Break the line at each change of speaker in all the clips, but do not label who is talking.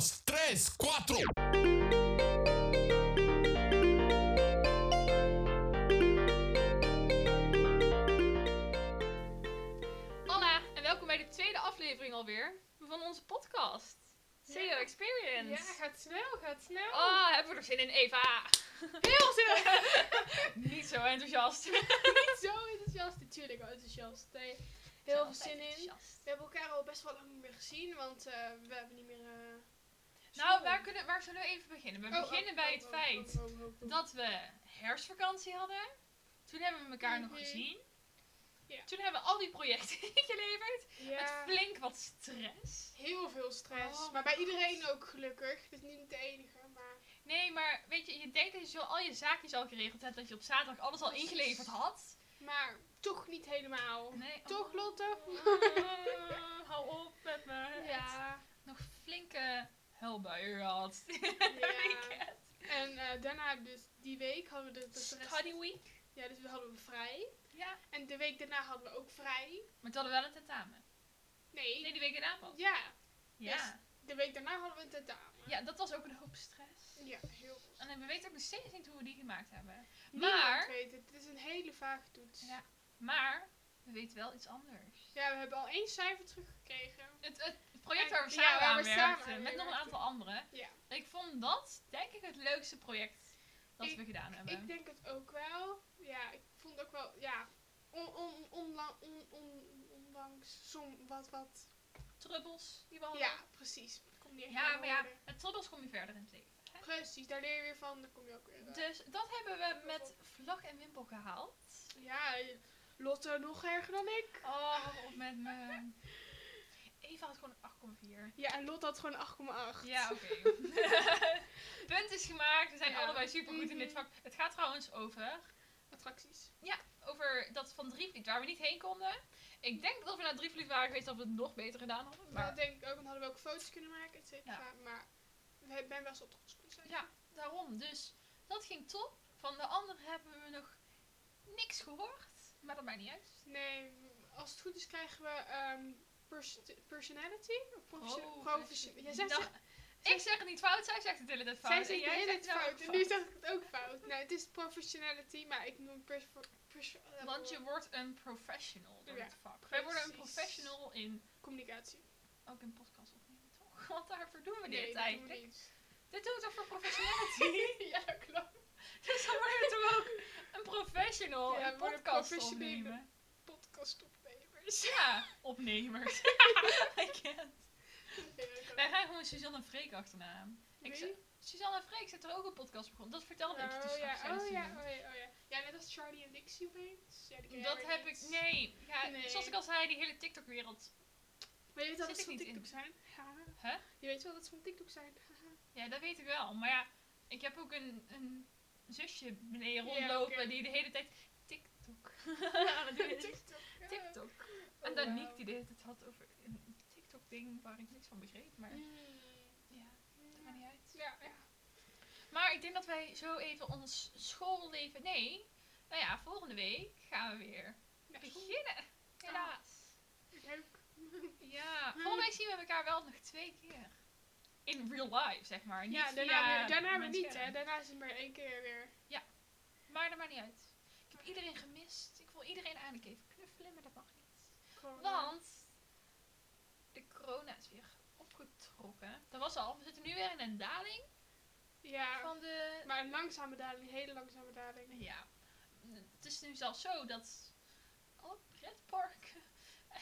3, 4.
Anna, en welkom bij de tweede aflevering alweer van onze podcast. CEO
Ja,
Experience.
gaat snel, gaat snel.
Oh, hebben we er zin in, Eva?
heel snel.
Niet zo enthousiast. Heel
Niet zo enthousiast, natuurlijk wel enthousiast. Nee, heel veel zin in. We hebben elkaar al best wel lang niet meer gezien, want eh, we hebben niet meer... eh,
Nou,
school.
waar, kunnen, waar zullen we even beginnen? We
Oh, oh,
beginnen bij
oh,
het
oh,
feit
oh, oh, oh, oh.
dat we herfstvakantie hadden. Toen hebben we elkaar nog
Mhm.
gezien.
Ja.
Toen hebben we al die projecten ingeleverd.
Ja,
Met flink wat stress.
heel veel stress.
Oh,
maar bij
God.
iedereen ook gelukkig. Dus niet de enige, maar...
Nee, maar weet je, je denkt dat je zo al je zaakjes al geregeld hebt. Dat je op zaterdag alles al
Precies.
ingeleverd had.
Maar toch niet helemaal.
Nee, oh.
Toch, Lotte?
Ah, hou op met me.
Ja.
Nog flinke huilbuien gehad.
ja. En eh, daarna, dus die week, hadden we de, de
Study week.
Ja, dus we hadden we vrij.
Ja.
En de week daarna hadden we ook vrij.
Maar toen hadden we wel een tentamen.
Nee.
Nee, die week daarna pas.
Ja. Yes.
Ja.
De week daarna hadden we een tentamen.
Ja, dat was ook een hoop stress.
Ja, heel goed.
En we weten ook nog steeds niet hoe we die gemaakt hebben.
Niemand
Maar-
weet het. Het is een hele vage toets.
Ja. Maar we weten wel iets anders.
Ja, we hebben al één cijfer teruggekregen.
Het, het project
Ja,
waar we
ja,
samen
waar
aan
we samen
werkten,
aan
met nog een
werkten.
aantal anderen.
Ja.
Ik vond dat, denk ik, het leukste project dat
Ik-
we gedaan hebben.
Ik denk het ook wel. Ja, ik vond ook wel, ja, on, on, onla- on, on- ondanks som, wat, wat.
Trubbels die we hadden.
Ja, precies. Kom niet echt
Oh. Ja,
aan
maar ja,
woorden.
met trubbels kom je verder in het leven. hè?
Precies, daar leer je weer van, dan kom je ook weer. uit.
Dus dat hebben we met vlag en wimpel gehaald.
Ja, Lotte nog erger dan ik.
Oh, hou op met me. Eva had gewoon 8,4.
Ja, en Lotte had gewoon 8,8.
Ja, oké. Punt is gemaakt. We zijn
Ja.
allebei supergoed in dit
Mhm.
vak. Het gaat trouwens over,
Attracties.
over dat van Drievliet waar we niet heen konden. Ik denk dat als we naar Drievliet waren geweest, dat we het nog beter gedaan hadden.
Maar dat
Maar
denk ik ook, want hadden we ook foto's kunnen maken, et cetera.
Ja.
Maar we hebben wel eens opgelost kunnen zijn.
ja, daarom. Dus dat ging top. Van de anderen hebben we nog niks gehoord. Maar dat maakt niet uit.
Nee, als het goed is krijgen we ehm, pers- personality? Of profession-
Oh,
profession- ja, zij
Nou,
zegt,
ik zeg het niet fout, zij zegt het de hele tijd fout.
zij
En
zegt de
jij
hele
zegt
tijd
nou
fout. En nu zeg ik het ook fout. nou, het is professionality, maar ik noem pers... pers- eh,
Want je wordt een professional door
Ja,
het vak. Wij worden een
precies.
professional in,
Communicatie.
ook in podcast opnemen, toch? Want daarvoor doen we dit
Nee, dat doen we
eigenlijk.
niet.
Dit doen we toch voor professionality?
ja, dat klopt.
dus dan worden we toch ook een professional
Ja,
in
we worden
podcast
professionele-
opnemen.
Podcast opnemers.
Ja, opnemers. I can't. Wij gaan gewoon Suzanne en Freek achterna. Eh, Ik
Wie?
zou- Suzanne en Freek zitten er ook een podcast begonnen. Dat vertelde ik je toen
Oh ja,
straks aan het
oh ja,
zien.
oh ja, oh ja. Ja, net als Charlie en Dixie opeens. Ja, die ken jij
Dat
weer
heb
niet.
ik, nee. Ja,
Nee.
Zoals ik al zei, die hele TikTok-wereld.
Maar je weet wel
Zit
dat ze
ik
van
niet
TikTok
in.
zijn. Haha.
Huh?
Je weet wel dat ze van TikTok zijn. Haha.
Ja, dat weet ik wel. Maar ja, ik heb ook een, een zusje beneden
Ja,
rondlopen
oké.
die de hele tijd TikTok aan het doen is.
TikTok. ja.
TikTok.
Oh,
En dan
wauw.
Niek die de hele tijd had over een TikTok-ding waar ik niks van begreep. Maar
Mm.
ja, dat maakt niet uit.
Ja, ja.
Maar ik denk dat wij zo even ons schoolleven... Nee, nou ja, volgende week gaan we weer
Ja, goed.
beginnen. Helaas.
Leuk.
Ja, volgende week zien we elkaar wel nog twee keer. Hm. In real life, zeg maar. Niet
Ja,
via
daarna, weer, daarna weer
mensen
niet, hè.
kennen.
Daarna is het maar één keer weer.
Maar dat maakt niet uit. Ik heb iedereen gemist. Ik wil iedereen eigenlijk even knuffelen, maar dat mag niet.
Corona.
Want de corona is weer opgetrokken. Dat was al. We zitten nu weer in een daling
Ja,
van de...
maar een langzame daling, hele langzame daling.
Ja. Het is nu zelfs zo dat alle pretparken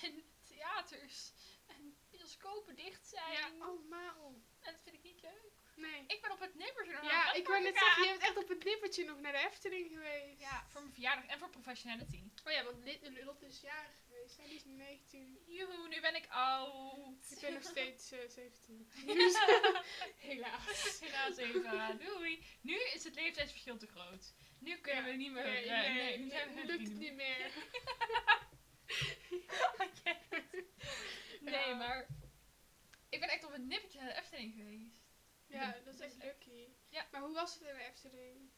en theaters en bioscopen dicht zijn.
Ja, allemaal.
En dat vind ik niet leuk.
Nee.
Ik ben op het nippertje nog naar
Ja,
een
ik wou net
pretpark
zeggen, je
gegaan.
bent echt op het nippertje nog naar de Efteling geweest.
Ja, voor mijn verjaardag en voor professionality.
Oh ja, want Lit- Lotte is jarig geweest. Hij is 19.
Joehoe, nu ben ik oud.
Ik ben nog steeds eh, 17. Helaas.
Helaas even, doei. Nu is het leeftijdsverschil te groot. Nu kunnen
Ja,
we niet meer...
Nee,
eh,
nee,
nu
nee,
zijn we
nu
het
lukt het
doen.
niet meer.
Nee,
Ja.
maar... Ik ben echt op het nippertje naar de Efteling geweest.
Ja, dat is echt lucky.
Ja.
Maar hoe was het in de Efteling?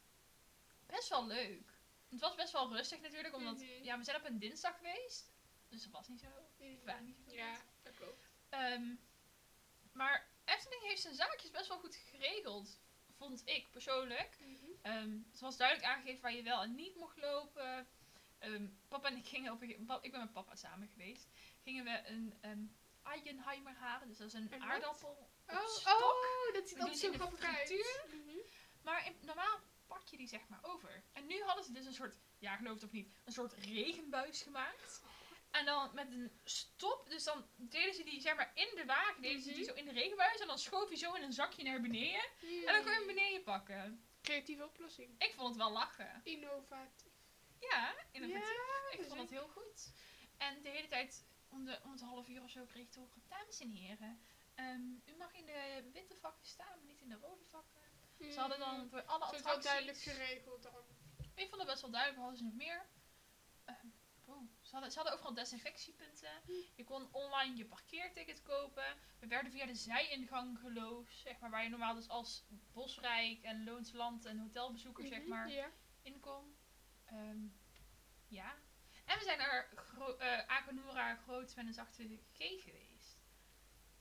Best wel leuk. Het was best wel rustig natuurlijk, omdat...
Mhm.
Ja, we zijn op een dinsdag geweest. Dus dat was niet zo.
Mhm.
waren niet zo goed.
Ja, dat klopt.
Ehm, maar Efteling heeft heeft zijn zaakjes best wel goed geregeld. Vond ik persoonlijk. Ehm, het was duidelijk aangegeven waar je wel en niet mocht lopen. Ehm, papa en ik gingen op een ge- pa- ik ben met papa samen geweest. Gingen we een ehm Eigenheimer halen, dus dat is een,
Een wat?
aardappel op
Oh,
stok.
oh, dat ziet
We doen
altijd
ze
zo
in de
grappig uit.
frituur.
Mhm.
Maar in- normaal pak je die zeg maar over. En nu hadden ze dus een soort, ja geloof het of niet, een soort regenbuis gemaakt. En dan met een stop, dus dan deden ze die zeg maar in de wagen, deden ze die
Mhm.
zo in de regenbuis. En dan schoof je zo in een zakje naar beneden. En dan kon je hem beneden pakken.
Creatieve oplossing.
Ik vond het wel lachen.
Innovatief.
Ja, innovatief.
Ja,
Ik vond het heel goed. En de hele tijd, om, de, om het half uur of zo, kreeg ik te horen, dames en heren. ehm, u mag in de witte vakken staan, maar niet in de rode vakken.
zeker.
Ze hadden dan voor alle
Mhm. Zo is wel
attracties...
duidelijk geregeld dan.
Ik vond het best wel duidelijk, hadden ze nog meer. Ehm, wow, ze, hadden, ze hadden overal desinfectiepunten.
Hm.
Je kon online je parkeerticket kopen. We werden via de zijingang geloosd, zeg maar, waar je normaal dus als bosrijk en loonsland en hotelbezoeker, zeg
Mhm,
maar,
Ja.
in kon. Ehm, ja. En we zijn naar Gro eh Akonura Groot met een zachte G geweest.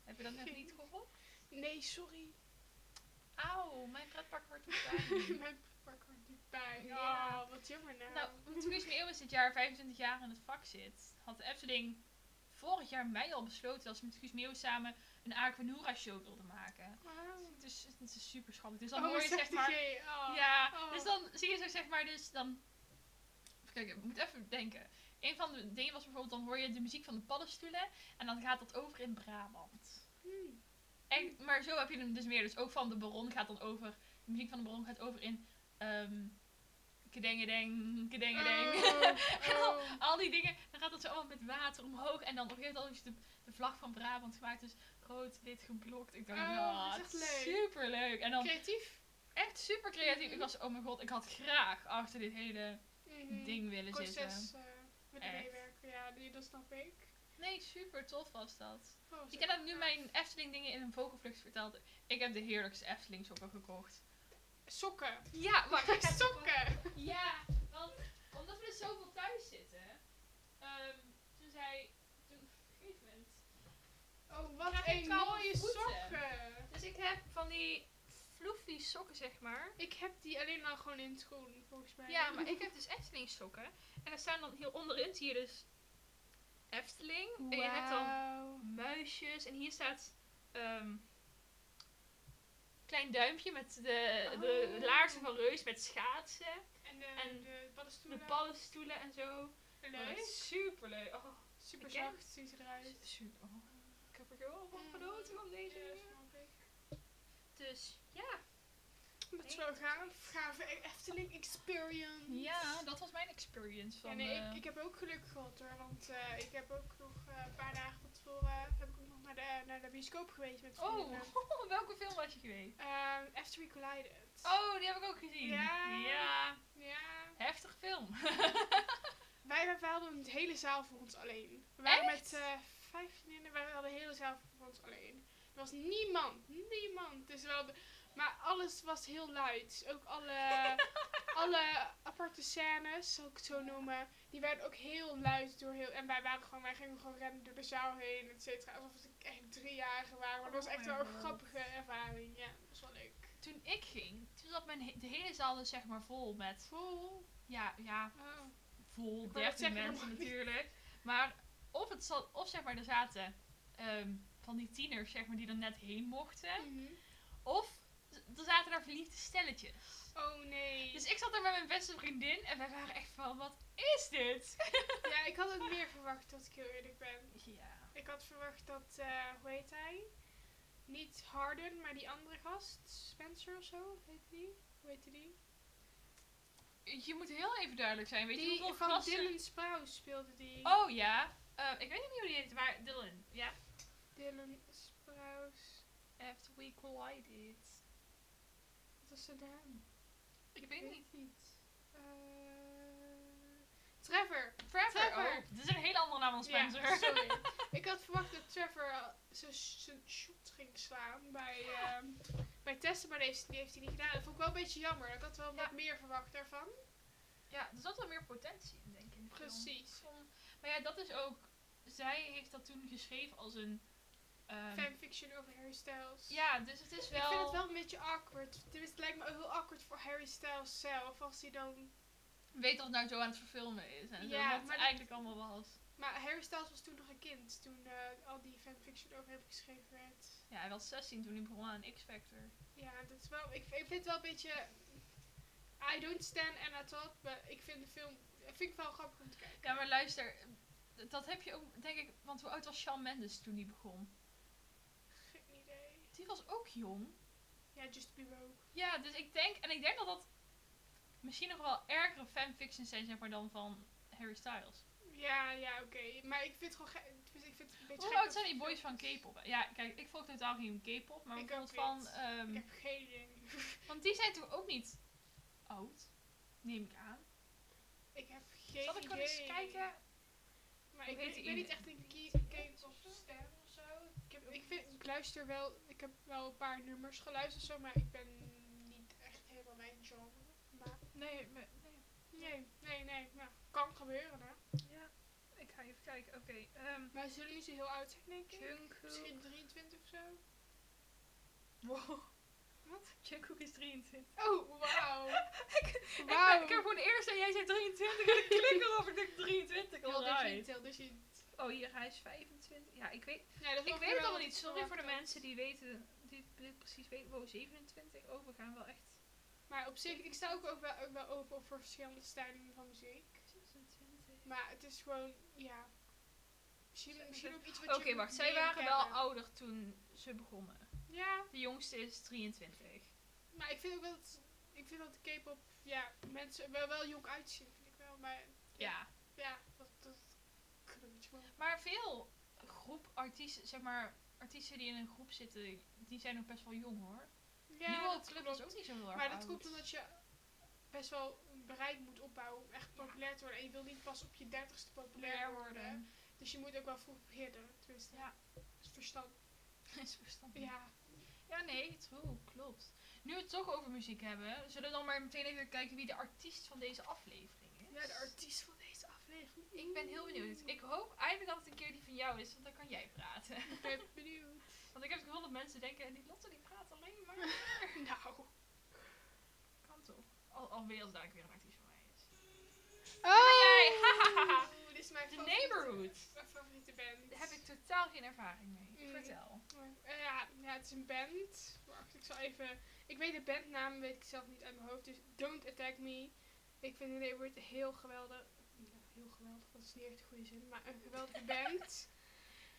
Heb je dat net niet gehoord?
Nee, sorry.
Auw, mijn pretpark wordt erbij.
Mijn pak wordt niet bij.
Mhm. Ja.
Ja, wat jammer nou.
Nou, Toerisme Eeuw is dit jaar 25 jaar in het vak zit. Had de Efteling vorig jaar mei al besloten dat ze met Guus Meeuw samen een Aquanura show wilden maken.
Wauw.
Het is, het is super schattig. Dus Nou, dan
Oh,
hoor je
zegt
zeg
de
maar...
G. Oh.
Ja,
Oh.
dus dan zie je zo zeg maar dus dan... Even kijken, ik moet even denken. Een van de dingen was bijvoorbeeld dan hoor je de muziek van de paddenstoelen en dan gaat dat over in Brabant.
Hmm.
En, maar zo heb je hem dus meer. Dus ook van de Baron gaat dan over... De muziek van de Baron gaat over in... ehm kedengedeng, kedengedeng.
Oh, oh.
Al die dingen, dan gaat dat zo allemaal met water omhoog. En dan op een gegeven moment is de, de vlag van Brabant gemaakt. Dus rood, wit, geblokt. Ik dacht,
Oh,
nou,
dat is echt leuk."
superleuk. En dan
Creatief.
echt super creatief. Ik was, oh mijn god, ik had graag achter dit hele
Mhm.
ding willen zitten.
Proces eh, willen
Echt.
meewerken. Ja, die, dat snap ik.
Nee, super tof was dat.
Oh,
Ik
zo.
heb dan nu mijn Efteling dingen in een vogelvlucht verteld. Ik heb de heerlijkste Efteling sokken gekocht.
Sokken.
Ja, maar ik heb-
Sokken.
Ja, want omdat we dus zoveel thuis zitten. ehm, toen zei, toen op een gegeven moment...
Oh, wat
Krijg ik
een
koude
mooie
voeten.
sokken.
Dus ik heb van die floofy sokken, zeg maar.
Ik heb die alleen al gewoon in het groen, volgens mij.
Ja, maar ik heb dus Efteling sokken. En daar staan dan hier onderin, zie je dus Efteling. En je hebt dan
Wauw.
muisjes. En hier staat ehm, klein duimpje met de, de
Oh.
laarzen van Reus met schaatsen.
En de,
en
de
De
paddenstoelen.
paddenstoelen en zo. Oh,
Leuk.
Superleuk. Oh,
Super
Bekend.
zacht ziet eruit.
super. oh. Ik heb er heel van genoten van deze
Ja,
dingen.
snap ik.
Dus ja.
Dat is wel gaaf. Gaaf e- Efteling experience.
dat was mijn experience
Ja, nee,
eh,
ik, ik heb ook geluk gehad hoor, want eh, ik heb ook nog eh, een paar dagen van tevoren eh, heb ik ook nog naar de, naar de bioscoop geweest met
Oh,
vrienden.
welke film was je geweest?
Ehm, After We Collided.
Oh, die heb ik ook gezien.
Ja.
Ja.
Ja.
Heftig film.
Wij, wij hadden een hele zaal voor ons alleen. We waren
Echt?
met eh vijf vriendinnen, wij hadden een hele zaal voor ons alleen. Er was niemand, niemand. Dus we hadden, maar alles was heel luid. Dus Ook alle, alle aparte scènes, zal ik het zo noemen, die werden ook heel luid door heel. En wij waren gewoon, wij gingen gewoon rennen door de zaal heen, et cetera. Alsof het echt driejarigen waren. Maar dat was
Oh
echt
my
wel een
God.
grappige ervaring. Ja, dat was wel leuk.
Toen ik ging, toen zat mijn he- de hele zaal dus zeg maar vol met,
Vol.
ja, ja,
Oh.
vol,
Ik wou
13
net zeggen,
mensen
dat mag
natuurlijk. Maar of, het zat, of zeg maar er zaten ehm, van die tieners zeg maar die er net heen mochten.
Mhm.
Of er zaten daar verliefde stelletjes.
Oh nee.
Dus ik zat daar met mijn beste vriendin en wij waren echt van, wat is dit?
Ja, ik had ook meer verwacht, als ik heel eerlijk ben.
Ja.
Ik had verwacht dat, eh, hoe heet hij? Niet Harden, maar die andere gast. Spencer of zo, heet die? Hoe heet die?
Je moet heel even duidelijk zijn, weet je
die
hoeveel
van
gasten...
Dylan Sprouse speelde die.
Oh ja. Eh, ik weet niet hoe die heet, maar Dylan. Ja.
Dylan Sprouse.
After we collided.
Wat was zijn naam?
Ik, weet het niet.
Eh, Trevor.
Trevor.
Trevor.
Oh, dit is een hele andere naam dan Spencer.
Ja, sorry. ik had verwacht dat Trevor eh, zijn zijn shot ging slaan bij, ehm, bij testen, maar die heeft, die heeft hij niet gedaan. Dat vond ik wel een beetje jammer. Ik had wel
Ja.
wat meer verwacht daarvan.
Ja, er zat wel meer potentie in, denk ik. in de film. Ehm.
Precies.
Om- Maar ja, dat is ook... Zij heeft dat toen geschreven als een Ehm,
fanfiction over Harry Styles.
ja, dus het is wel...
Ik vind het wel een beetje awkward. Tenminste, het lijkt me ook heel awkward voor Harry Styles zelf. Als hij dan...
Weet of het nou zo aan het verfilmen is en zo,
Ja,
wat
maar
het eigenlijk allemaal was.
Maar Harry Styles was toen nog een kind. Toen eh, al die fanfiction over hem geschreven werd.
Ja, hij was 16 toen hij begon aan X-Factor.
Ja, dat is wel. Ik, ik vind het wel een beetje. I don't stand and I talk, maar ik vind de film. Vind ik wel grappig om te kijken.
Ja, maar luister, d- dat heb je ook, denk ik, want hoe oud was Shawn Mendes toen die begon?
Geen idee.
Die was ook jong.
Ja, Just Be Rogue.
Ja, dus ik denk, en ik denk dat dat misschien nog wel ergere fanfictions zijn, zeg maar, dan van Harry Styles.
Ja, ja, oké. Maar ik vind het gewoon. ge- tenminste, Ik vind het een beetje.
Hoe
gek
oud
dat
zijn die
film
boys van
is.
K-pop? Ja, kijk, ik volg totaal geen K-pop, maar
Ik
bijvoorbeeld
ook
van,
niet.
ehm,
Ik heb geen idee.
want die zijn toch ook niet oud? Neem ik aan.
ik heb geen
Zal ik
idee.
wel eens kijken?
Maar
Hoe heet
ik, weet-
die
ik ben
ene?
niet echt een K-pop stem of zo. Ik, heb, ik, vind, ik luister wel. Ik heb wel een paar nummers geluisterd of zo, maar ik ben niet echt helemaal mijn genre. Maar
Nee, me- nee.
nee, nee, nee. Nou, kan gebeuren, hè.
Ja, ik ga even kijken. Oké, ehm,
Maar ze zullen niet zo heel oud zijn, denk ik.
Jungkook.
Misschien 23 of zo.
Wow.
Wat?
Jungkook is 23.
Oh, wauw.
Ik, ben,
Wauw.
ik heb gewoon eerst en jij zei 23 en ik klik erop en ik denk 23,
Heel
alright.
tel dus je...
Oh, hier, hij is 25. Ja, ik weet,
Ja, dat
ik weet het allemaal niet. Sorry voor de mensen die weten, die dit precies weten. Wow, 27. Oh, we gaan wel echt
Maar op zich, ik sta ook, ook, wel, ook wel open voor verschillende stijlen van muziek.
26.
Maar het is gewoon, ja... Misschien, misschien ook iets wat
Oké,
je moet
wacht. Zij
leren
waren wel
kennen.
ouder toen ze begonnen.
Ja,
De jongste is 23.
maar ik vind ook wel dat... Ik vind dat de K-pop, ja, mensen wel, wel jong uitzien, vind ik wel. Maar
Ja.
ja, dat... dat kan een beetje wel.
Maar veel groep artiesten, zeg maar, artiesten die in een groep zitten, die zijn ook best wel jong hoor.
Ja,
Nieuwe
dat
Club
klopt.
is ook niet zo heel erg
Maar dat
oud.
komt omdat je best wel een bereik moet opbouwen om echt populair te worden. En je wil niet pas op je dertigste populair worden. Dus je moet ook wel vroeg beginnen. Tenminste,
Ja.
dat is verstand.
Is verstandig.
Ja.
Ja, nee, true, klopt. Nu we het toch over muziek hebben, zullen we dan maar meteen even kijken wie de artiest van deze aflevering is.
ja, de artiest van deze aflevering.
Ik ben heel benieuwd. Ik hoop eigenlijk dat het een keer die van jou is, want dan kan jij praten.
Ik ben benieuwd.
Want ik heb het gevoel dat mensen denken, die Lotte die praat alleen maar.
nou.
Kan toch? Al, alweer als daar weer een artiest van mij is.
Oh,
jij. Hahaha.
Dit is mijn
The
favoriete-
Neighborhood.
Mijn favoriete band.
Daar heb ik totaal geen ervaring mee.
Mm.
Vertel.
Eh, ja, ja, het is een band. Wacht, ik zal even... Ik weet de bandnaam, weet ik zelf niet uit mijn hoofd. Dus Don't Attack Me. Ik vind The Neighborhood heel geweldig. Nou, heel geweldig, dat is niet echt een goede zin. Maar een geweldige band.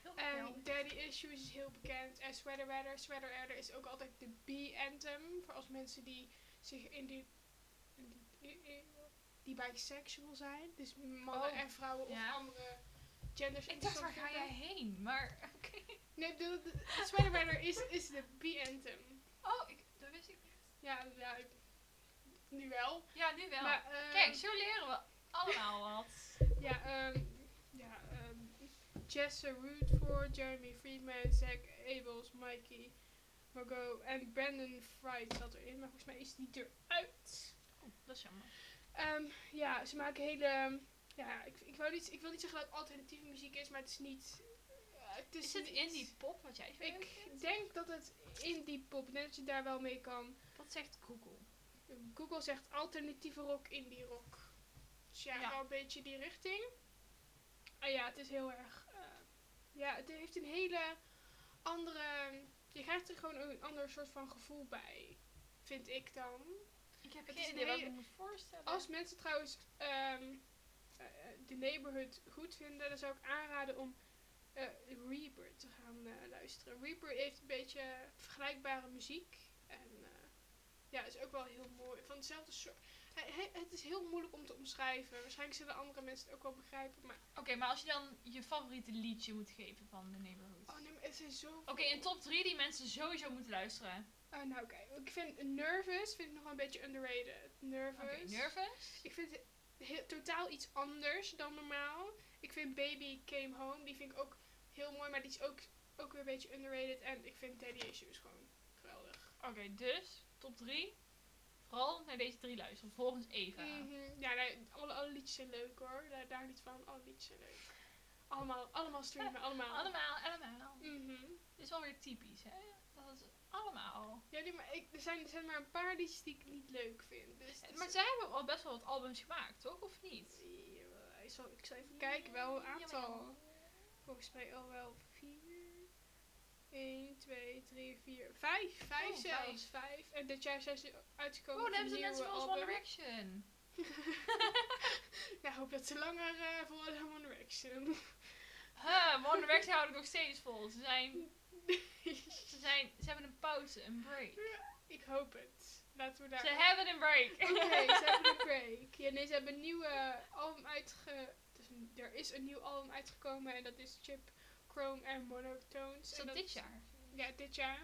Heel
En
geweldig.
Daddy Issues is heel bekend. En Sweater Weather. Sweater Weather is ook altijd de B-anthem. Voor als mensen die zich in die... in die, in- in- die bisexual zijn. Dus mannen
Oh,
en vrouwen
ja.
of andere genders.
Ik dacht, waar
interessant
ga jij
vinden.
heen? Maar, oké.
Nee, ik bedoel, de, de Sweater Weather is, is de B-anthem.
Oh, ik, dat wist ik niet.
Ja, ja, ik- nu wel.
Ja, nu wel.
Maar, ehm,
Kijk, zo leren we allemaal wat.
Ja, ehm ja, ehm Jesse Rootford, Jeremy Friedman, Zach Abels, Mikey Margot en Brandon Fried zat erin, maar volgens mij is die eruit.
Oeh, dat is jammer.
Ehm, ja, ze maken hele, ja, ik, ik, wou niet, ik wil niet zeggen dat het alternatieve muziek is, maar het is niet... eh, het is
Is het
niet-
indie pop wat jij vindt?
Ik denk dat het indie pop, net als je daar wel mee kan.
Wat zegt Google?
Google zegt alternatieve rock, indie rock. Dus ja,
Ja.
wel een beetje die richting. Ah ja, het is heel erg. eh, ja, het heeft een hele andere. Je krijgt er gewoon een ander soort van gevoel bij. Vind ik dan.
Ik heb
Het
geen
is een
idee wat ik
hele-
me moet voorstellen.
Als mensen trouwens ehm, eh, de neighborhood goed vinden, dan zou ik aanraden om eh, Reaper te gaan eh, luisteren. Reaper heeft een beetje vergelijkbare muziek. En eh, ja, is ook wel heel mooi. Van dezelfde soort. hij- hij- het is heel moeilijk om te omschrijven. Waarschijnlijk zullen andere mensen het ook wel begrijpen. Maar,
Oké, maar als je dan je favoriete liedje moet geven van The Neighborhood.
oh nee, maar er zijn zo.
Oké, een top 3 die mensen sowieso moeten luisteren.
nou, oké. Ik vind Nervous vind ik nog wel een beetje underrated. Nervous.
Oké, Nervous.
Ik vind het heel, totaal iets anders dan normaal. Ik vind Baby Came Home, die vind ik ook heel mooi, maar die is ook, ook weer een beetje underrated. En ik vind Daddy Issues gewoon geweldig.
Oké, dus top 3. Vooral naar deze drie luisteren, volgens Eva.
Mhm. Ja, nee, alle, alle liedjes zijn leuk hoor. Daar, daar niet van, alle liedjes zijn leuk. Allemaal, allemaal streamen, allemaal.
Allemaal, allemaal.
Mhm.
Dit is wel weer typisch, hè? Dat is allemaal.
Ja, nee, maar ik, er, zijn, er zijn maar een paar liedjes die ik niet leuk vind. Dus het
Maar
is-
zij hebben al best wel wat albums gemaakt, toch? Of niet?
Ja, ik, zal, ik zal even kijken, wel een aantal. Volgens mij al wel vier. 1, 2, 3, 4, 5. 5
Oh,
zelfs. 5. En dit jaar zijn ze
Oh,
uitgekomen.
dan
met
hebben ze
een
net
nieuwe
zoveel als
album.
One Direction.
Nou, ik hoop dat ze langer eh voor dan One Direction.
Huh, One Direction houden ik nog steeds vol. Ze zijn, ze zijn... Ze hebben een pauze, een break.
ik hoop het. Laten we daar.
Ze hebben een break.
Oké, ze hebben een break. Ja, nee, ze hebben een nieuwe album uitge... Dus een- er is een nieuw album uitgekomen en dat is Chip, Chrome en Monotones.
Is
En
dat dit jaar?
Ja, dit jaar.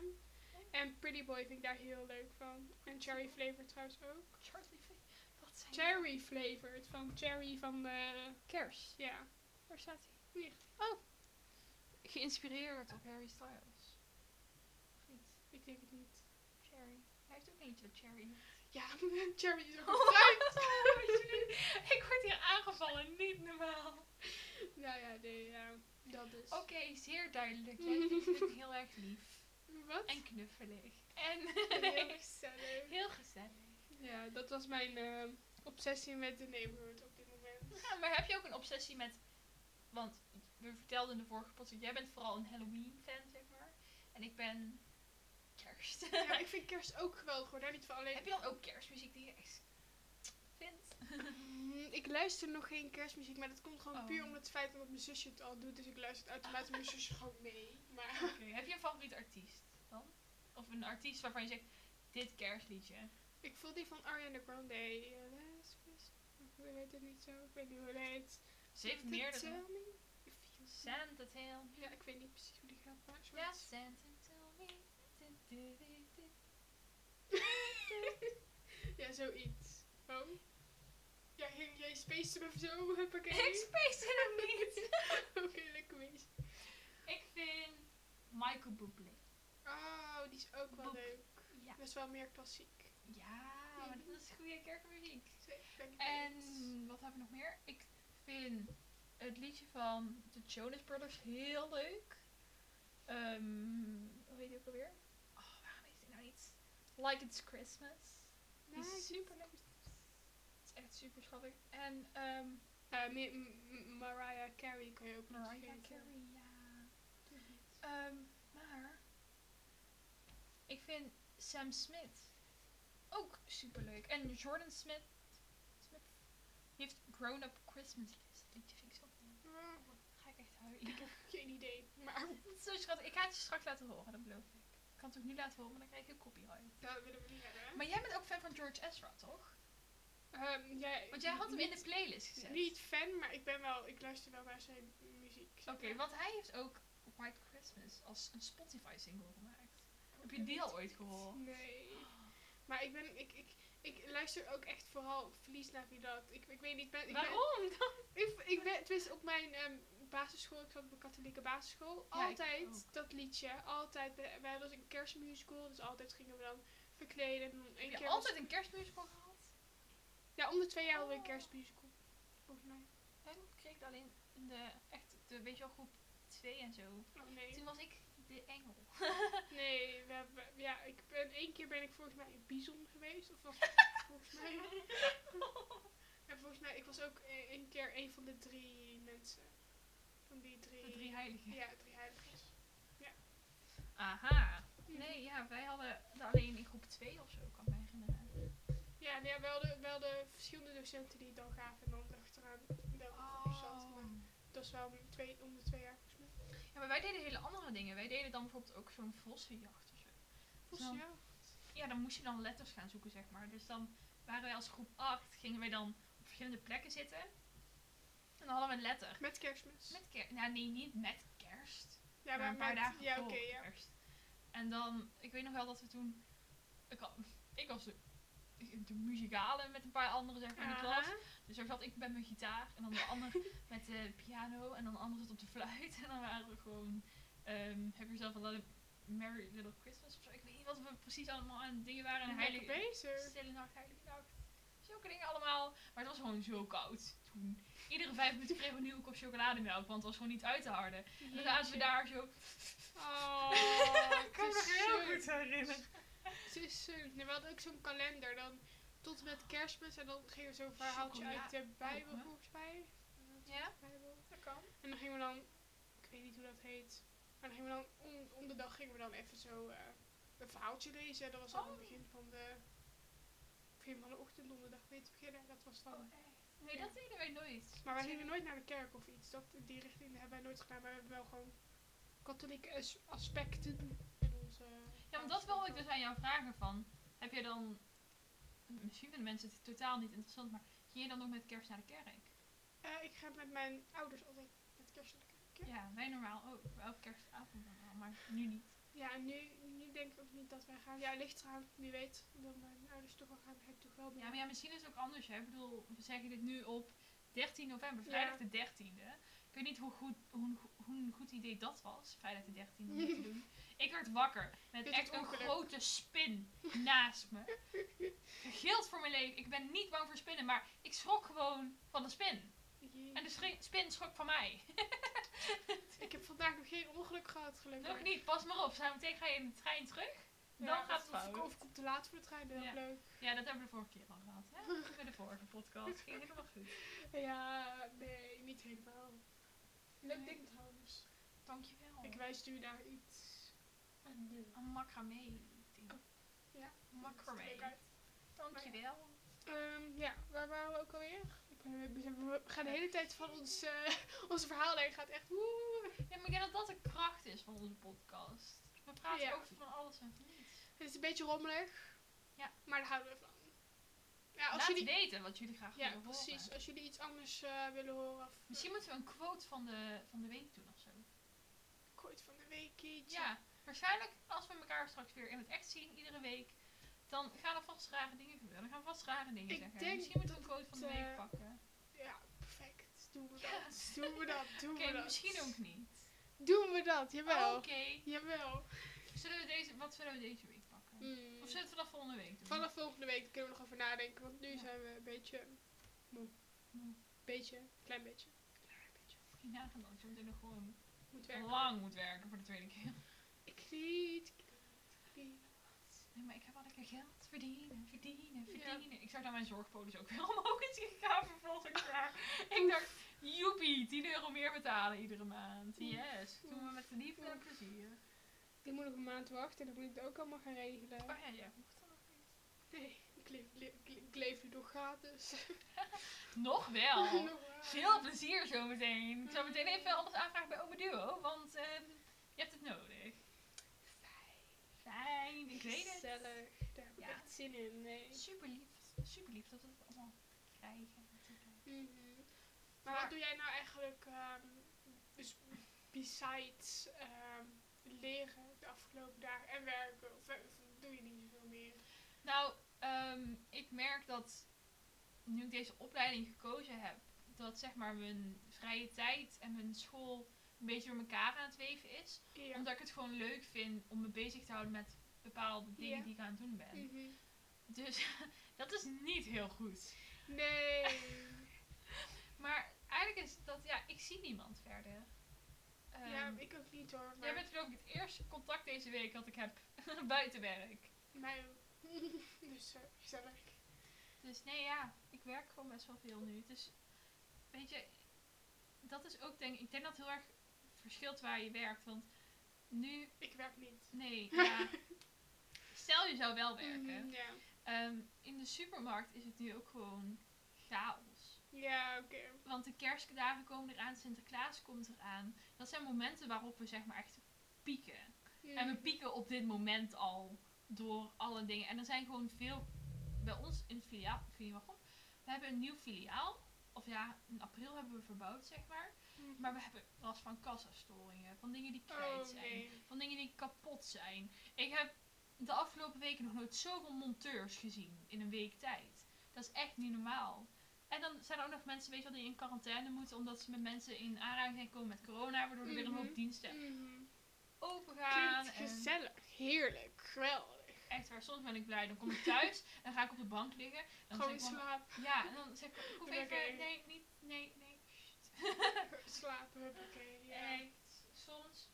En Pretty Boy vind ik daar heel leuk van. En Cherry Flavor trouwens ook.
Charlie V. Wat zijn
Cherry Flavored van Cherry van de...
Kers.
Ja.
Waar staat hij?
Hier.
Oh. Geïnspireerd op Harry Styles. Of niet?
Ik denk het niet.
Cherry. Hij heeft ook een liedje dat Cherry heet.
Ja, Cherry is ook
Oh,
een fruit.
wat je nu- Ik word hier aangevallen, niet normaal.
Nou ja, nee, ja. Dat dus. is.
Oké, zeer duidelijk. Jij vindt het heel erg lief.
Wat?
En knuffelig. En
Heel gezellig.
heel gezellig.
Ja, dat was mijn eh, obsessie met The Neighborhood op dit moment.
Ja, maar heb je ook een obsessie met... Want we vertelden in de vorige podcast, jij bent vooral een Halloween-fan, zeg maar. En ik ben kerst.
Ja, maar ik vind kerst ook geweldig hoor, daar niet van alleen.
Heb je dan ook kerstmuziek die je echt vindt?
Mm, Ik luister nog geen kerstmuziek, maar dat komt gewoon
Oh. Ah.
puur omdat het feit dat mijn zusje het al doet. Dus ik luister het automatisch mijn zusje gewoon mee. Maar
Oké, heb je een favoriet artiest dan? Of een artiest waarvan je zegt, dit kerstliedje.
ik voel die van Ariana Grande. eh, Last Christmas. Hoe heet het niet zo? Ik weet niet hoe het heet.
Ze heeft
Something tell
meerdere.
me if you-
Santa tell me.
Ja, ik weet niet precies hoe die gaat, maar
Ja,
zoiets.
Santa tell me. Du- du- du- du.
ja, zoiets. Oh. Ja, ging jij space hem of zo? Oh, Huppakee.
Ik space het niet.
Oké, lekker bezig.
Ik vind Michael Bublé.
Oh, die is ook wel
Boep.
leuk.
Ja.
Best wel meer klassiek.
Ja, maar dat is goede kerkmuziek.
Zeker, ben ik het mee
En
eens.
wat hebben we nog meer? Ik vind het liedje van de Jonas Brothers heel leuk. Ehm hoe heet die ook alweer? Oh, waarom heet die nou niet? Like It's Christmas. Die
Nou,
is super leuk. Het is echt super schattig. En ehm
Eh, mi- m- m- Mariah Carey kan je ook nog
Mariah
vergeten.
Carey, ja. Ehm, maar ik vind Sam Smith ook superleuk. En Jordan Smith, Smith die heeft Grown Up Christmas. Dat liedje vind ik zo mooi.
Ah,
Ga ik echt huilen.
geen idee. Maar
Dat is zo schattig. Ik ga het je straks laten horen, dat beloof ik. Ik kan het ook niet laten horen, want dan krijg ik copyright.
dat willen we niet hebben.
Maar jij bent ook fan van George Ezra, toch?
Ehm, jij,
Want jij had hem in de
niet,
playlist gezet.
Niet fan, maar ik ben wel, ik luister wel naar zijn muziek.
Oké, want hij heeft ook White Christmas als een Spotify single gemaakt.
Oh,
Heb je die al ooit gehoord?
Nee. Maar ik ben, ik, ik, ik luister ook echt vooral verlies naar wie dat. Ik, ik weet niet, ik ben, ik ben-
Waarom dan?
Ik, ik ben, tenminste, op mijn ehm, basisschool, ik zat op een katholieke basisschool,
Ja, ik
altijd
ook.
dat liedje. Altijd, we, we hadden een kerstmusical, dus altijd gingen we dan verkleden. En dan
Heb
één keer
je
was-
altijd een kerstmusical gehad?
ja, om de twee jaar hadden we een
Oh.
kerstmusical, volgens mij.
Wij kreeg ik alleen in de, echt, de, weet je wel, groep 2 en zo.
Oh nee.
Toen was ik de engel.
Nee, we hebben, ja, ik ben, één keer ben ik volgens mij een bison geweest. Of was volgens mij. En volgens mij, ik was ook e- één keer een van de drie mensen. Van die drie.
De drie heiligen.
Ja, drie heiligen.
Aha. Nee, ja, wij hadden het alleen in groep 2 of zo, kan ik me herinneren.
Ja, nee, we, hadden, we hadden verschillende docenten die het dan gaven en dan erachteraan welke
Oh.
groep zat. Maar dat is wel om de twee, om de twee jaar volgens mij.
Ja, maar wij deden hele andere dingen. Wij deden dan bijvoorbeeld ook zo'n vossenjacht of zo.
Volgens
Zo.
jou?
Ja, dan moest je dan letters gaan zoeken, zeg maar. Dus dan waren wij als groep 8, gingen wij dan op verschillende plekken zitten. En dan hadden we een letter.
Met kerstmis.
Met kerst. Nou, nee, niet met kerst.
ja,
maar een paar
met-
dagen
Ja,
voor
oké, ja.
kerst. En dan, ik weet nog wel dat we toen, ik, had- ik was de, de muzikale met een paar anderen zeg maar, in de klas.
Aha.
Dus daar zat ik met mijn gitaar en dan de ander met de piano en dan de ander zat op de fluit. En dan waren we gewoon, ehm heb je zelf al Merry Little Christmas of zo. Ik weet niet wat we precies allemaal aan dingen waren.
Lekker
Een heilige,
bezig.
stille nacht, heilige nacht. Zo Zulke dingen allemaal. Maar het was gewoon zo koud toen. Iedere vijf minuten kregen we een nieuwe kop chocolademelk, want het was gewoon niet uit te harden. En dan zaten we daar zo.
Oh,
Ik kan me nog heel goed herinneren.
Het is zeunt. Nee, we hadden ook zo'n kalender. Dan tot en met kerstmis. En dan ging er zo'n verhaaltje
Chocola-
uit de Bijbel,
Oh, hè?
volgens mij.
Ja,
Bijbel.
dat kan.
En dan gingen we dan... Ik weet niet hoe dat heet. Maar dan gingen we dan... Om, om de dag gingen we dan even zo eh, een verhaaltje lezen. Dat was dan het
Oh.
begin van de... Begin van de ochtend om de dag mee te beginnen. Dat was dan...
Oh, Nee, dat deden wij nooit.
Maar wij
Toen-
gingen nooit naar de kerk of iets. Dat, in die richting hebben wij nooit gedaan. Maar we hebben wel gewoon katholieke as- aspecten in onze...
Ja, maar dat wilde ik dus aan jou vragen van. Heb je dan, misschien vinden mensen het totaal niet interessant, maar ging je dan ook met kerst naar de kerk?
Eh, ik ga met mijn ouders altijd met kerst naar de kerk. Ja.
Ja, wij normaal ook. Wel op kerstavond dan wel, maar nu niet.
Ja, en nu, nu denk ik ook niet dat wij gaan. Ja, ligt eraan, wie weet. Dan mijn ouders toch wel gaan, ga ik toch wel mee.
Ja, maar ja, misschien is het ook anders. Hè? Ik bedoel, we zeggen dit nu op 13 november, vrijdag de 13e. Ik weet niet hoe goed, hoe, hoe een goed idee dat was, vrijdag de 13e om dit te doen. Ik werd wakker met
Dit is
echt een
ongeluk.
grote spin naast me. Gegild voor mijn leven. Ik ben niet bang voor spinnen, maar ik schrok gewoon van de spin.
Jee.
En de schri- spin schrok van mij.
Ik heb vandaag nog geen ongeluk gehad, gelukkig.
Nog niet, pas maar op. Zo meteen ga je in de trein terug.
Ja,
dan gaat het
of-
fout.
Of ik kom te laat voor de trein, heel
Ja.
leuk.
Ja, dat hebben we de vorige keer al gehad. Hè? Bij de vorige podcast ging helemaal goed.
Ja, nee, niet helemaal. Leuk
Nee.
ding trouwens.
Dankjewel.
dus. Ik wijs nu naar iets. En nu.
Een macramee ding.
Oh, Ja.
Macramee.
Leuk uit.
Dankjewel.
Ehm, ja, waar waren we ook alweer? Ik ben- we zijn- We gaan de hele tijd van ons, eh onze verhaallijn gaat echt woe.
Ja, maar ik denk dat dat de kracht is van onze podcast. We praten
Ja.
over van alles en van niets.
Het is een beetje rommelig.
Ja.
Maar daar houden we van. Ja, als
Laat
jullie,
weten wat jullie graag
ja
willen
precies.
horen.
Als jullie iets anders eh, willen horen. Of
Misschien moeten we een quote van de, van de week doen of zo.
kort van de week iets.
Ja, waarschijnlijk als we elkaar straks weer in het echt zien, iedere week, dan gaan er vast rare dingen gebeuren. Dan gaan we vast rare dingen
Ik
zeggen.
denk
Misschien moeten we een quote van de
het,
week
eh,
pakken.
Ja, perfect. Doen we
Ja.
dat. Doen we dat. Doen
Oké,
we dat.
misschien ook niet. Oh,
Doen we dat.
Oké,
Jawel. Jawel.
Zullen we deze- wat zullen we deze week pakken?
Mm.
Of zullen we dat volgende week doen?
Vanaf volgende week kunnen we nog over nadenken. Want nu
Ja.
zijn we een beetje moe.
Moe.
Beetje. Klein beetje. Klein beetje.
Ik nagaan dat je meteen nog gewoon
Moet werken.
lang moet werken voor de tweede keer.
Ik niet. ik niet.
Nee, maar ik heb al lekker geld verdienen, verdienen,
Ja.
verdienen. Ik zag dat mijn zorgpolis ook weer omhoog is gegaan voor volgend jaar. ik dacht, joepie, 10 euro meer betalen iedere maand.
Oef,
Yes, doen we met de liefde en plezier.
Die moet nog een maand wachten. En dan moet ik het ook allemaal gaan regelen.
Oh ja, jij mocht dat nog niet.
Nee, ik leef, le- ik le- ik leef nu nog gratis.
Nog wel.
Nog waar.
Veel plezier zometeen. Ik zou meteen even alles aanvragen bij Ome Duo, want ehm, je hebt het nodig. Fijn, ik weet het.
Gezellig, daar heb ik
Ja.
echt zin in. Nee.
Super lief, super lief dat we het allemaal krijgen.
Mhm. Maar
Maar-
wat doe jij nou eigenlijk, ehm, dus besides ehm, leren de afgelopen dagen en werken? Of, eh, of doe je niet zoveel meer?
Nou, ehm, ik merk dat nu ik deze opleiding gekozen heb, dat zeg maar mijn vrije tijd en mijn school een beetje door elkaar aan het weven is.
Ja.
Omdat ik het gewoon leuk vind om me bezig te houden met bepaalde dingen
Ja.
die ik aan het doen ben.
Mhm.
Dus dat is niet heel goed.
Nee.
Maar eigenlijk is dat, ja, ik zie niemand verder.
ja,
Ehm,
ik ook niet hoor. Maar
Jij bent geloof ik het eerste contact deze week dat ik heb buiten werk.
mij ook. dus eh, gezellig.
Dus nee, ja, ik werk gewoon best wel veel nu. Dus weet je, dat is ook denk ik, denk dat het heel erg verschilt waar je werkt. Want nu,
Ik werk niet.
nee, ja. Stel je zou wel werken.
Mhm, Ja,
Ehm, in de supermarkt is het nu ook gewoon chaos.
ja oké.
Want de kerstdagen komen eraan, Sinterklaas komt eraan. Dat zijn momenten waarop we zeg maar echt pieken. En we
Mhm.
pieken op dit moment al door alle dingen. En er zijn gewoon veel. Bij ons in het filiaal. filiaal we hebben een nieuw filiaal. Of ja, in april hebben we verbouwd, zeg maar.
Mhm.
Maar we hebben last van kassastoringen. Van dingen die kwijt
Oh
zijn.
nee.
Van dingen die kapot zijn. Ik heb de afgelopen weken nog nooit zoveel monteurs gezien in een week tijd. Dat is echt niet normaal. En dan zijn er ook nog mensen, weet je wel, die in quarantaine moeten. Omdat ze met mensen in aanraking zijn gekomen met corona. Waardoor er weer een
Mhm.
hoop diensten
Mhm.
open gaan.
Klinkt
en-
gezellig. Heerlijk. Geweldig.
Echt ver. Soms ben ik blij, dan kom ik thuis en dan ga ik op de bank liggen. Dan
Gewoon
zeg ik wel-
slaap,
ja, en dan zeg ik, ik hoef
Dan ben ik
even,
er.
nee, niet, nee, nee. sst.
slapen, huppakee. Ja.
Echt, soms.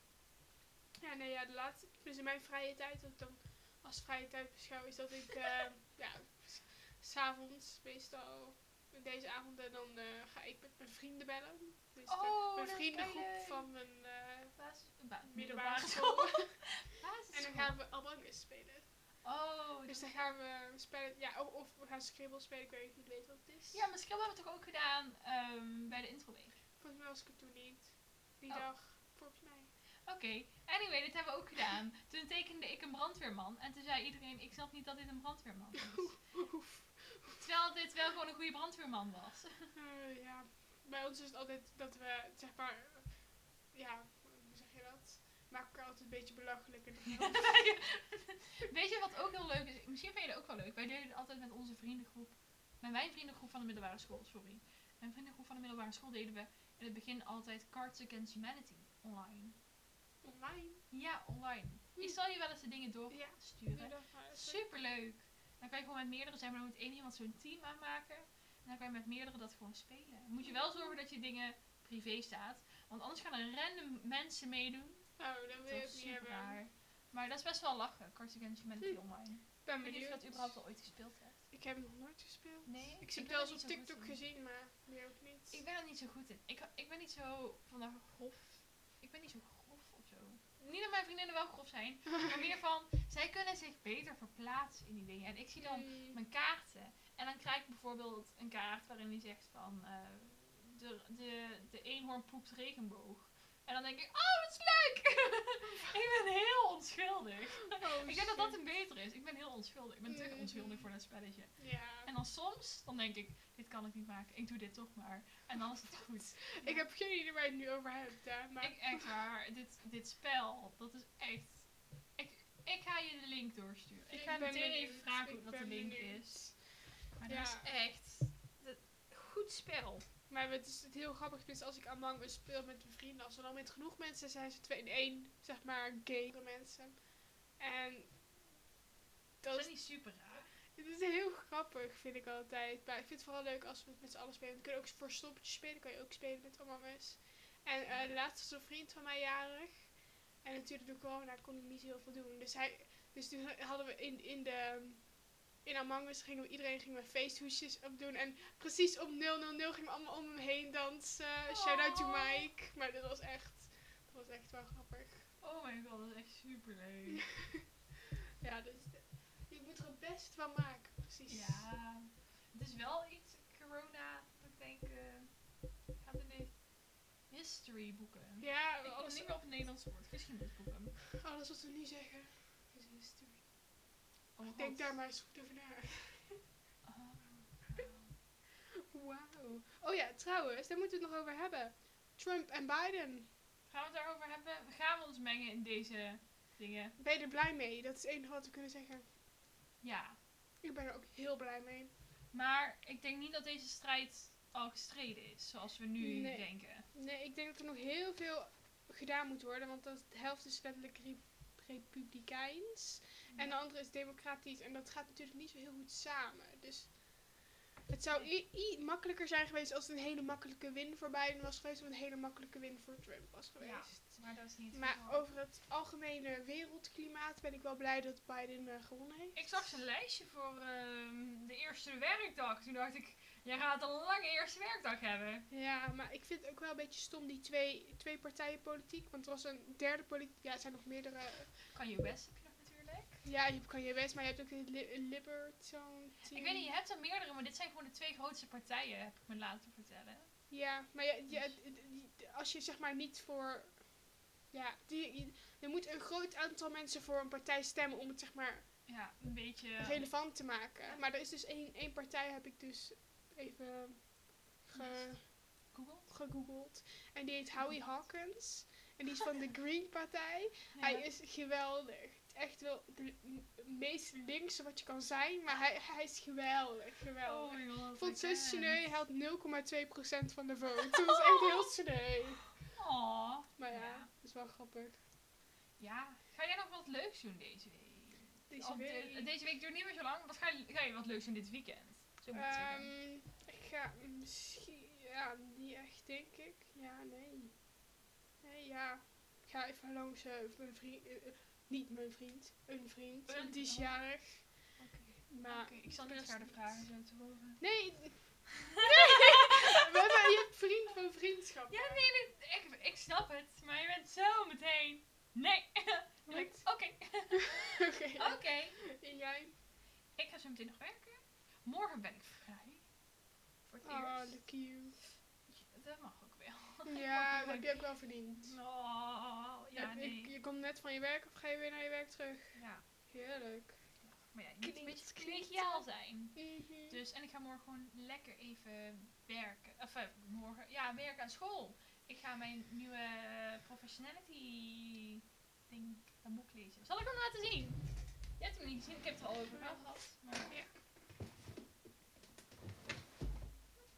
Ja, nee, ja, de laatste, dus in mijn vrije tijd, wat ik dan als vrije tijd beschouw, is dat ik, eh ja, s- s'avonds meestal, deze avonden, dan eh, ga ik met mijn vrienden bellen. Dus
Oh,
mijn
dat
vriendengroep
kan je.
van mijn eh
Basis, ba-
middelbare school.
Basisschool.
en dan gaan we Albanus spelen.
Oh,
Dus
dus
dan gaan we spelen, ja, of, of we gaan Scribble spelen, ik weet niet weet wat het is.
ja, maar Scrabble hebben we toch ook gedaan ehm, bij de intro league?
Volgens mij was ik er toen niet, die
Oh.
dag, volgens mij.
Oké, anyway, dit hebben we ook gedaan. Toen tekende ik een brandweerman en toen zei iedereen, ik snap niet dat dit een brandweerman is. Terwijl dit wel gewoon een goede brandweerman was.
Eh, ja, bij ons is het altijd dat we, zeg maar, eh, ja, hoe zeg je dat? Maak elkaar altijd een beetje belachelijk. in de groep.
Weet je wat ook heel leuk is? Misschien vind je het ook wel leuk. Wij deden het altijd met onze vriendengroep. Met mijn vriendengroep van de middelbare school, sorry. Mijn vriendengroep van de middelbare school deden we in het begin altijd Cards Against Humanity online.
Online.
Ja, online. Ik zal je wel eens de dingen
Hm. Ja.
doorsturen.
Super.
Superleuk! Dan kan je gewoon met meerdere zijn, maar dan moet één iemand zo'n team aanmaken. En dan kan je met meerdere dat gewoon spelen. Moet je wel zorgen dat je dingen privé staat. Want anders gaan er random mensen meedoen.
Oh, dat wil
Dat
je
is
ook niet
super
hebben.
raar. Maar dat is best wel lachen, Cards Against Humanity
Hm.
online.
Ik ben
Ik weet niet of je dat
benieuwd.
überhaupt al ooit gespeeld hebt.
Ik heb nog nooit gespeeld.
Nee,
Ik
ik
heb het
ben
wel
er
eens op
niet zo goed
TikTok
in.
gezien, maar meer ook niet.
Ik ben er niet zo goed in. Ik, ik ben niet zo van de grof. Ik ben niet zo grof of zo. Niet dat mijn vriendinnen wel grof zijn, maar meer van zij kunnen zich beter verplaatsen in die dingen. En ik zie dan
Mm,
mijn kaarten. En dan krijg ik bijvoorbeeld een kaart waarin die zegt van eh, de, de, de eenhoorn poept regenboog. En dan denk ik, oh, dat is leuk! ik ben heel onschuldig.
oh,
Ik denk dat dat
shit.
een betere is. Ik ben heel onschuldig. Ik ben te
Mhm.
onschuldig voor dat spelletje.
Ja.
En dan soms, dan denk ik, dit kan ik niet maken, ik doe dit toch maar. En dan is het goed.
Ik heb geen idee waar je het nu over hebt, hè. Maar
Ik, echt waar, dit, dit spel, dat is echt... Ik, ik ga je de link doorsturen. Ik ga
ben
meteen even
benieuwd.
vragen
Ik
hoe dat de
ben
link
benieuwd.
is. Maar
Ja.
dat is echt... dat- goed spel.
Maar het is het heel grappig, dus als ik aan lang eens speel met mijn vrienden, als er dan met genoeg mensen zijn, ze twee in één, zeg maar, gay mensen. En
Dat
dat
is
is,
niet super raar.
het is heel grappig, vind ik altijd. Maar ik vind het vooral leuk als we het met z'n allen spelen. We kunnen ook voor stoppertjes spelen, kan je ook spelen met Among Us. En eh, de laatste was een vriend van mij jarig. En natuurlijk door corona kon ik niet heel veel doen. Dus, hij, dus toen hadden we in, in de... In Among Us gingen we, iedereen ging we feesthoesjes opdoen. En precies om 000 gingen we allemaal om hem heen dansen. Shout out to
Oh.
Mike. Maar dat was echt... Dat was echt wel grappig.
Oh mijn god, dat is echt super leuk.
Ja, dus... de- Je moet er het best van maken, precies.
Ja. Het is wel iets, corona, dat ik denk, eh, gaat in de oh, history boeken.
Ja,
Ik kom
alles,
niet meer op het Nederlands woord, geschiedenisboeken.
alles wat we nu zeggen is history.
Oh mijn
Denk
god.
daar maar eens goed over na.
Oh,
Wauw. Oh ja, trouwens, daar moeten we het nog over hebben. Trump en Biden.
Gaan we het daarover hebben? Gaan we ons mengen in deze dingen?
Ben je er blij mee? Dat is het enige wat we kunnen zeggen.
Ja.
Ik ben er ook heel blij mee.
Maar ik denk niet dat deze strijd al gestreden is, zoals we nu
Nee.
denken.
Nee, ik denk dat er nog heel veel gedaan moet worden. Want dat de helft is letterlijk re- republikeins. En de andere is democratisch. En dat gaat natuurlijk niet zo heel goed samen. Dus het zou i- i- makkelijker zijn geweest als het een hele makkelijke win voor Biden was geweest. Of een hele makkelijke win voor Trump was geweest.
Maar dat is niet het
Maar
geval.
over het algemene wereldklimaat ben ik wel blij dat Biden eh, gewonnen heeft.
Ik zag zijn lijstje voor ehm, de eerste werkdag. Toen dacht ik, jij gaat een lange eerste werkdag hebben.
Ja, maar ik vind het ook wel een beetje stom die twee, twee partijen politiek. Want er was een derde politiek. Ja, er zijn nog meerdere.
Kan je best heb je nog natuurlijk.
Ja, je kan je best, maar je hebt ook de li Libertarian.
Ik weet niet, je hebt er meerdere, maar dit zijn gewoon de twee grootste partijen, heb ik me laten vertellen.
Ja, maar ja, ja, d- d- d- als je zeg maar niet voor. Ja, die, je- er moet een groot aantal mensen voor een partij stemmen om het zeg maar
Ja, een beetje...
relevant te maken. Maar er is dus één, één partij, heb ik dus even ge,
Google?
gegoogeld. En die heet Howie Hawkins. En die is van de Green Partij. Hij is geweldig. Echt wel de m- meest linkse wat je kan zijn. Maar hij, hij is geweldig.
Oh
geweldig.
my god.
ik vond het zo
I can't.
sneu. Hij had 0,2% van de vote. Dat was echt heel sneu.
Aw.
Maar ja,
Ja.
dat is wel grappig.
Ja, ga jij nog wat leuks doen deze week?
Deze
Al de-
week.
deze week duurt niet meer zo lang. Wat ga je, ga je wat leuks in dit weekend? Zo moet ik het zeggen.
Ehm, ik ga misschien. Ja, niet echt, denk ik. Ja, nee. Nee, ja. Ik ga even langs eh, mijn vriend. eh, eh, niet mijn vriend, een vriend.
Een-
die is
oh.
jarig.
Oké.
Maar
Oké, ik zal
nou, de
niet
rest
verder vragen zo te horen.
Nee! nee. We hebben je vriend van vriendschap.
Ja, nee, nee, ik, ik snap het. Maar je bent zo meteen. Nee. Dan denk ik,
Goed.
Oké.
Oké.
Oké.
En jij?
Ik ga zo meteen nog werken. Morgen ben ik vrij. Voor het
Oh,
eerst.
de cute.
Dat mag ook wel.
Ja, dat heb je ook wel verdiend.
Oh, ja,
Heb ik-
nee.
je komt net van je werk of ga je weer naar je werk terug?
Ja,
Heerlijk.
maar ja, je moet een
Klinkt-
beetje
klinkt-
collegiaal zijn.
Mhm.
Dus, en ik ga morgen gewoon lekker even werken. Of eh, morgen, ja, werken aan school. Ik ga mijn nieuwe eh, professionality ding, dat boek lezen. Zal ik hem laten zien? Je hebt hem niet gezien, ik heb het er al over gehad. Maar
Ja.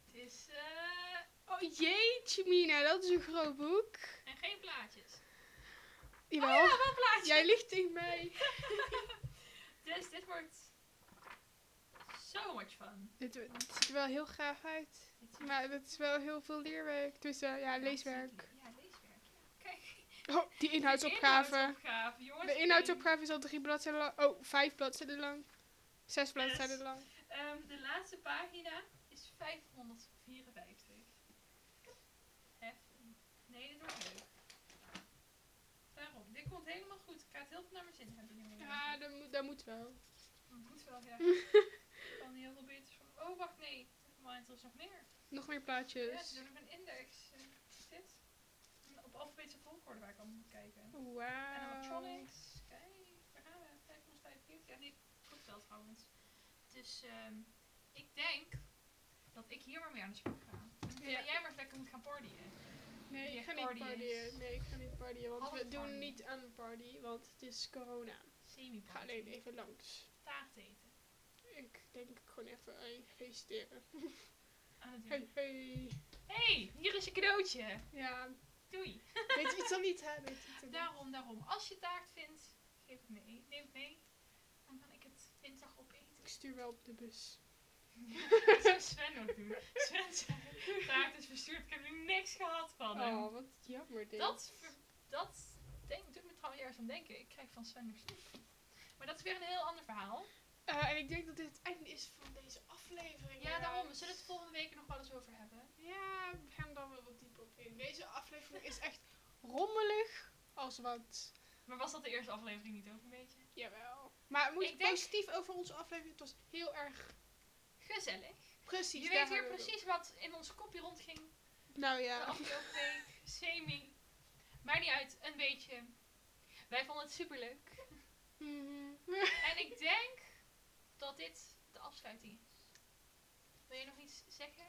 Het is, eh,
Oh jeetje Mina, dat is een groot boek.
en geen plaatjes.
Jawel.
Oh ja, wel plaatjes.
Jij ligt tegen mij.
Dus dit wordt so much fun.
Dit, dit ziet er wel heel gaaf uit.
Dit is-
Maar het is wel heel veel leerwerk. Dus eh, ja, leeswerk.
Ja, leeswerk. Ja. Kijk,
Oh, die inhoudsopgave.
inhoudsopgave, jongens.
De inhoudsopgave is al drie bladzijden lang. Oh, vijf bladzijden lang. Zes bladzijden lang.
Ehm, de laatste pagina is 554. Heffen. Nee, dit wordt leuk. Daarom, dit komt helemaal goed. Ik ga het heel veel naar mijn zin hebben. jongen.
Ja, dat moet, dat moet wel.
Dat moet wel, ja. Ik kan heel veel beters van... Oh, wacht, nee. Maar er is nog meer.
Nog meer
Ja, ze
plaatjes.
doen ook een index. En Dit. En Op alfabetische volgorde waar ik allemaal moet kijken.
Wauw.
Animatronics. Kijk, daar gaan we. 545. Ja, nee, klopt wel trouwens. Dus ehm, ik denk dat ik hier maar mee aan de slag ga. En
Ja.
dat jij maar eens lekker moet gaan partyen.
Nee, ik
Je
ga niet
party is-
partyen. Nee, ik ga niet partyen. Want
Half
we
party.
doen niet aan een party. Want het is corona.
semi
Ik ga alleen even langs.
Taart eten.
Ik denk ik gewoon even aan feliciteren.
Aan het
Hey,
doen.
hey.
hey, hier is je cadeautje.
Ja,
Doei.
weet je iets dan niet, hè? Weet je iets dan niet.
Daarom, daarom. Als je taart vindt, geef het mee. Neem het mee. Dan kan ik het dinsdag opeten.
Ik stuur wel op de bus.
Dat zou Sven ook doen. Sven zei, taart is verstuurd, ik heb er niks gehad van hem.
Oh, wat jammer dit.
Dat, ver- dat denk, doet me trouwens ergens aan denken. Ik krijg van Sven nog snoep. Maar dat is weer een heel ander verhaal.
Eh, en ik denk dat dit het einde is van deze aflevering.
Ja, daarom. We
We
zullen het volgende week er nog wel eens over hebben.
Ja, we gaan er dan wel wat dieper op in. Deze aflevering is echt rommelig als wat.
Maar was dat de eerste aflevering niet ook een beetje?
Jawel. Maar we moeten
Ik denk-
positief over onze aflevering. Het was heel erg
Gezellig.
precies.
Dus Je
daar
weet weer
hebben we het
precies wat in ons kopje rondging
op. Nou
de
ja.
afgelopen week. Semi. Maakt niet uit, een beetje. Wij vonden het superleuk.
Mhm.
En ik denk dat dit de afsluiting is. Wil je nog iets zeggen,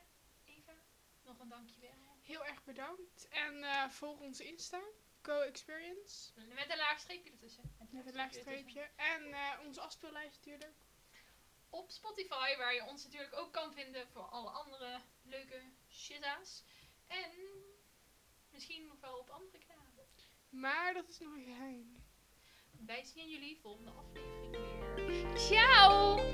Eva? Nog een dankjewel.
heel erg bedankt. En eh, volg onze Insta. Co Experience.
Met een laag streepje ertussen.
Met een laag
ertussen.
streepje. En eh, onze afspeellijst natuurlijk.
Op Spotify, waar je ons natuurlijk ook kan vinden voor alle andere leuke shiza's. En misschien nog wel op andere kanalen.
Maar dat is nog een geheim.
Wij zien jullie volgende aflevering weer. Ciao!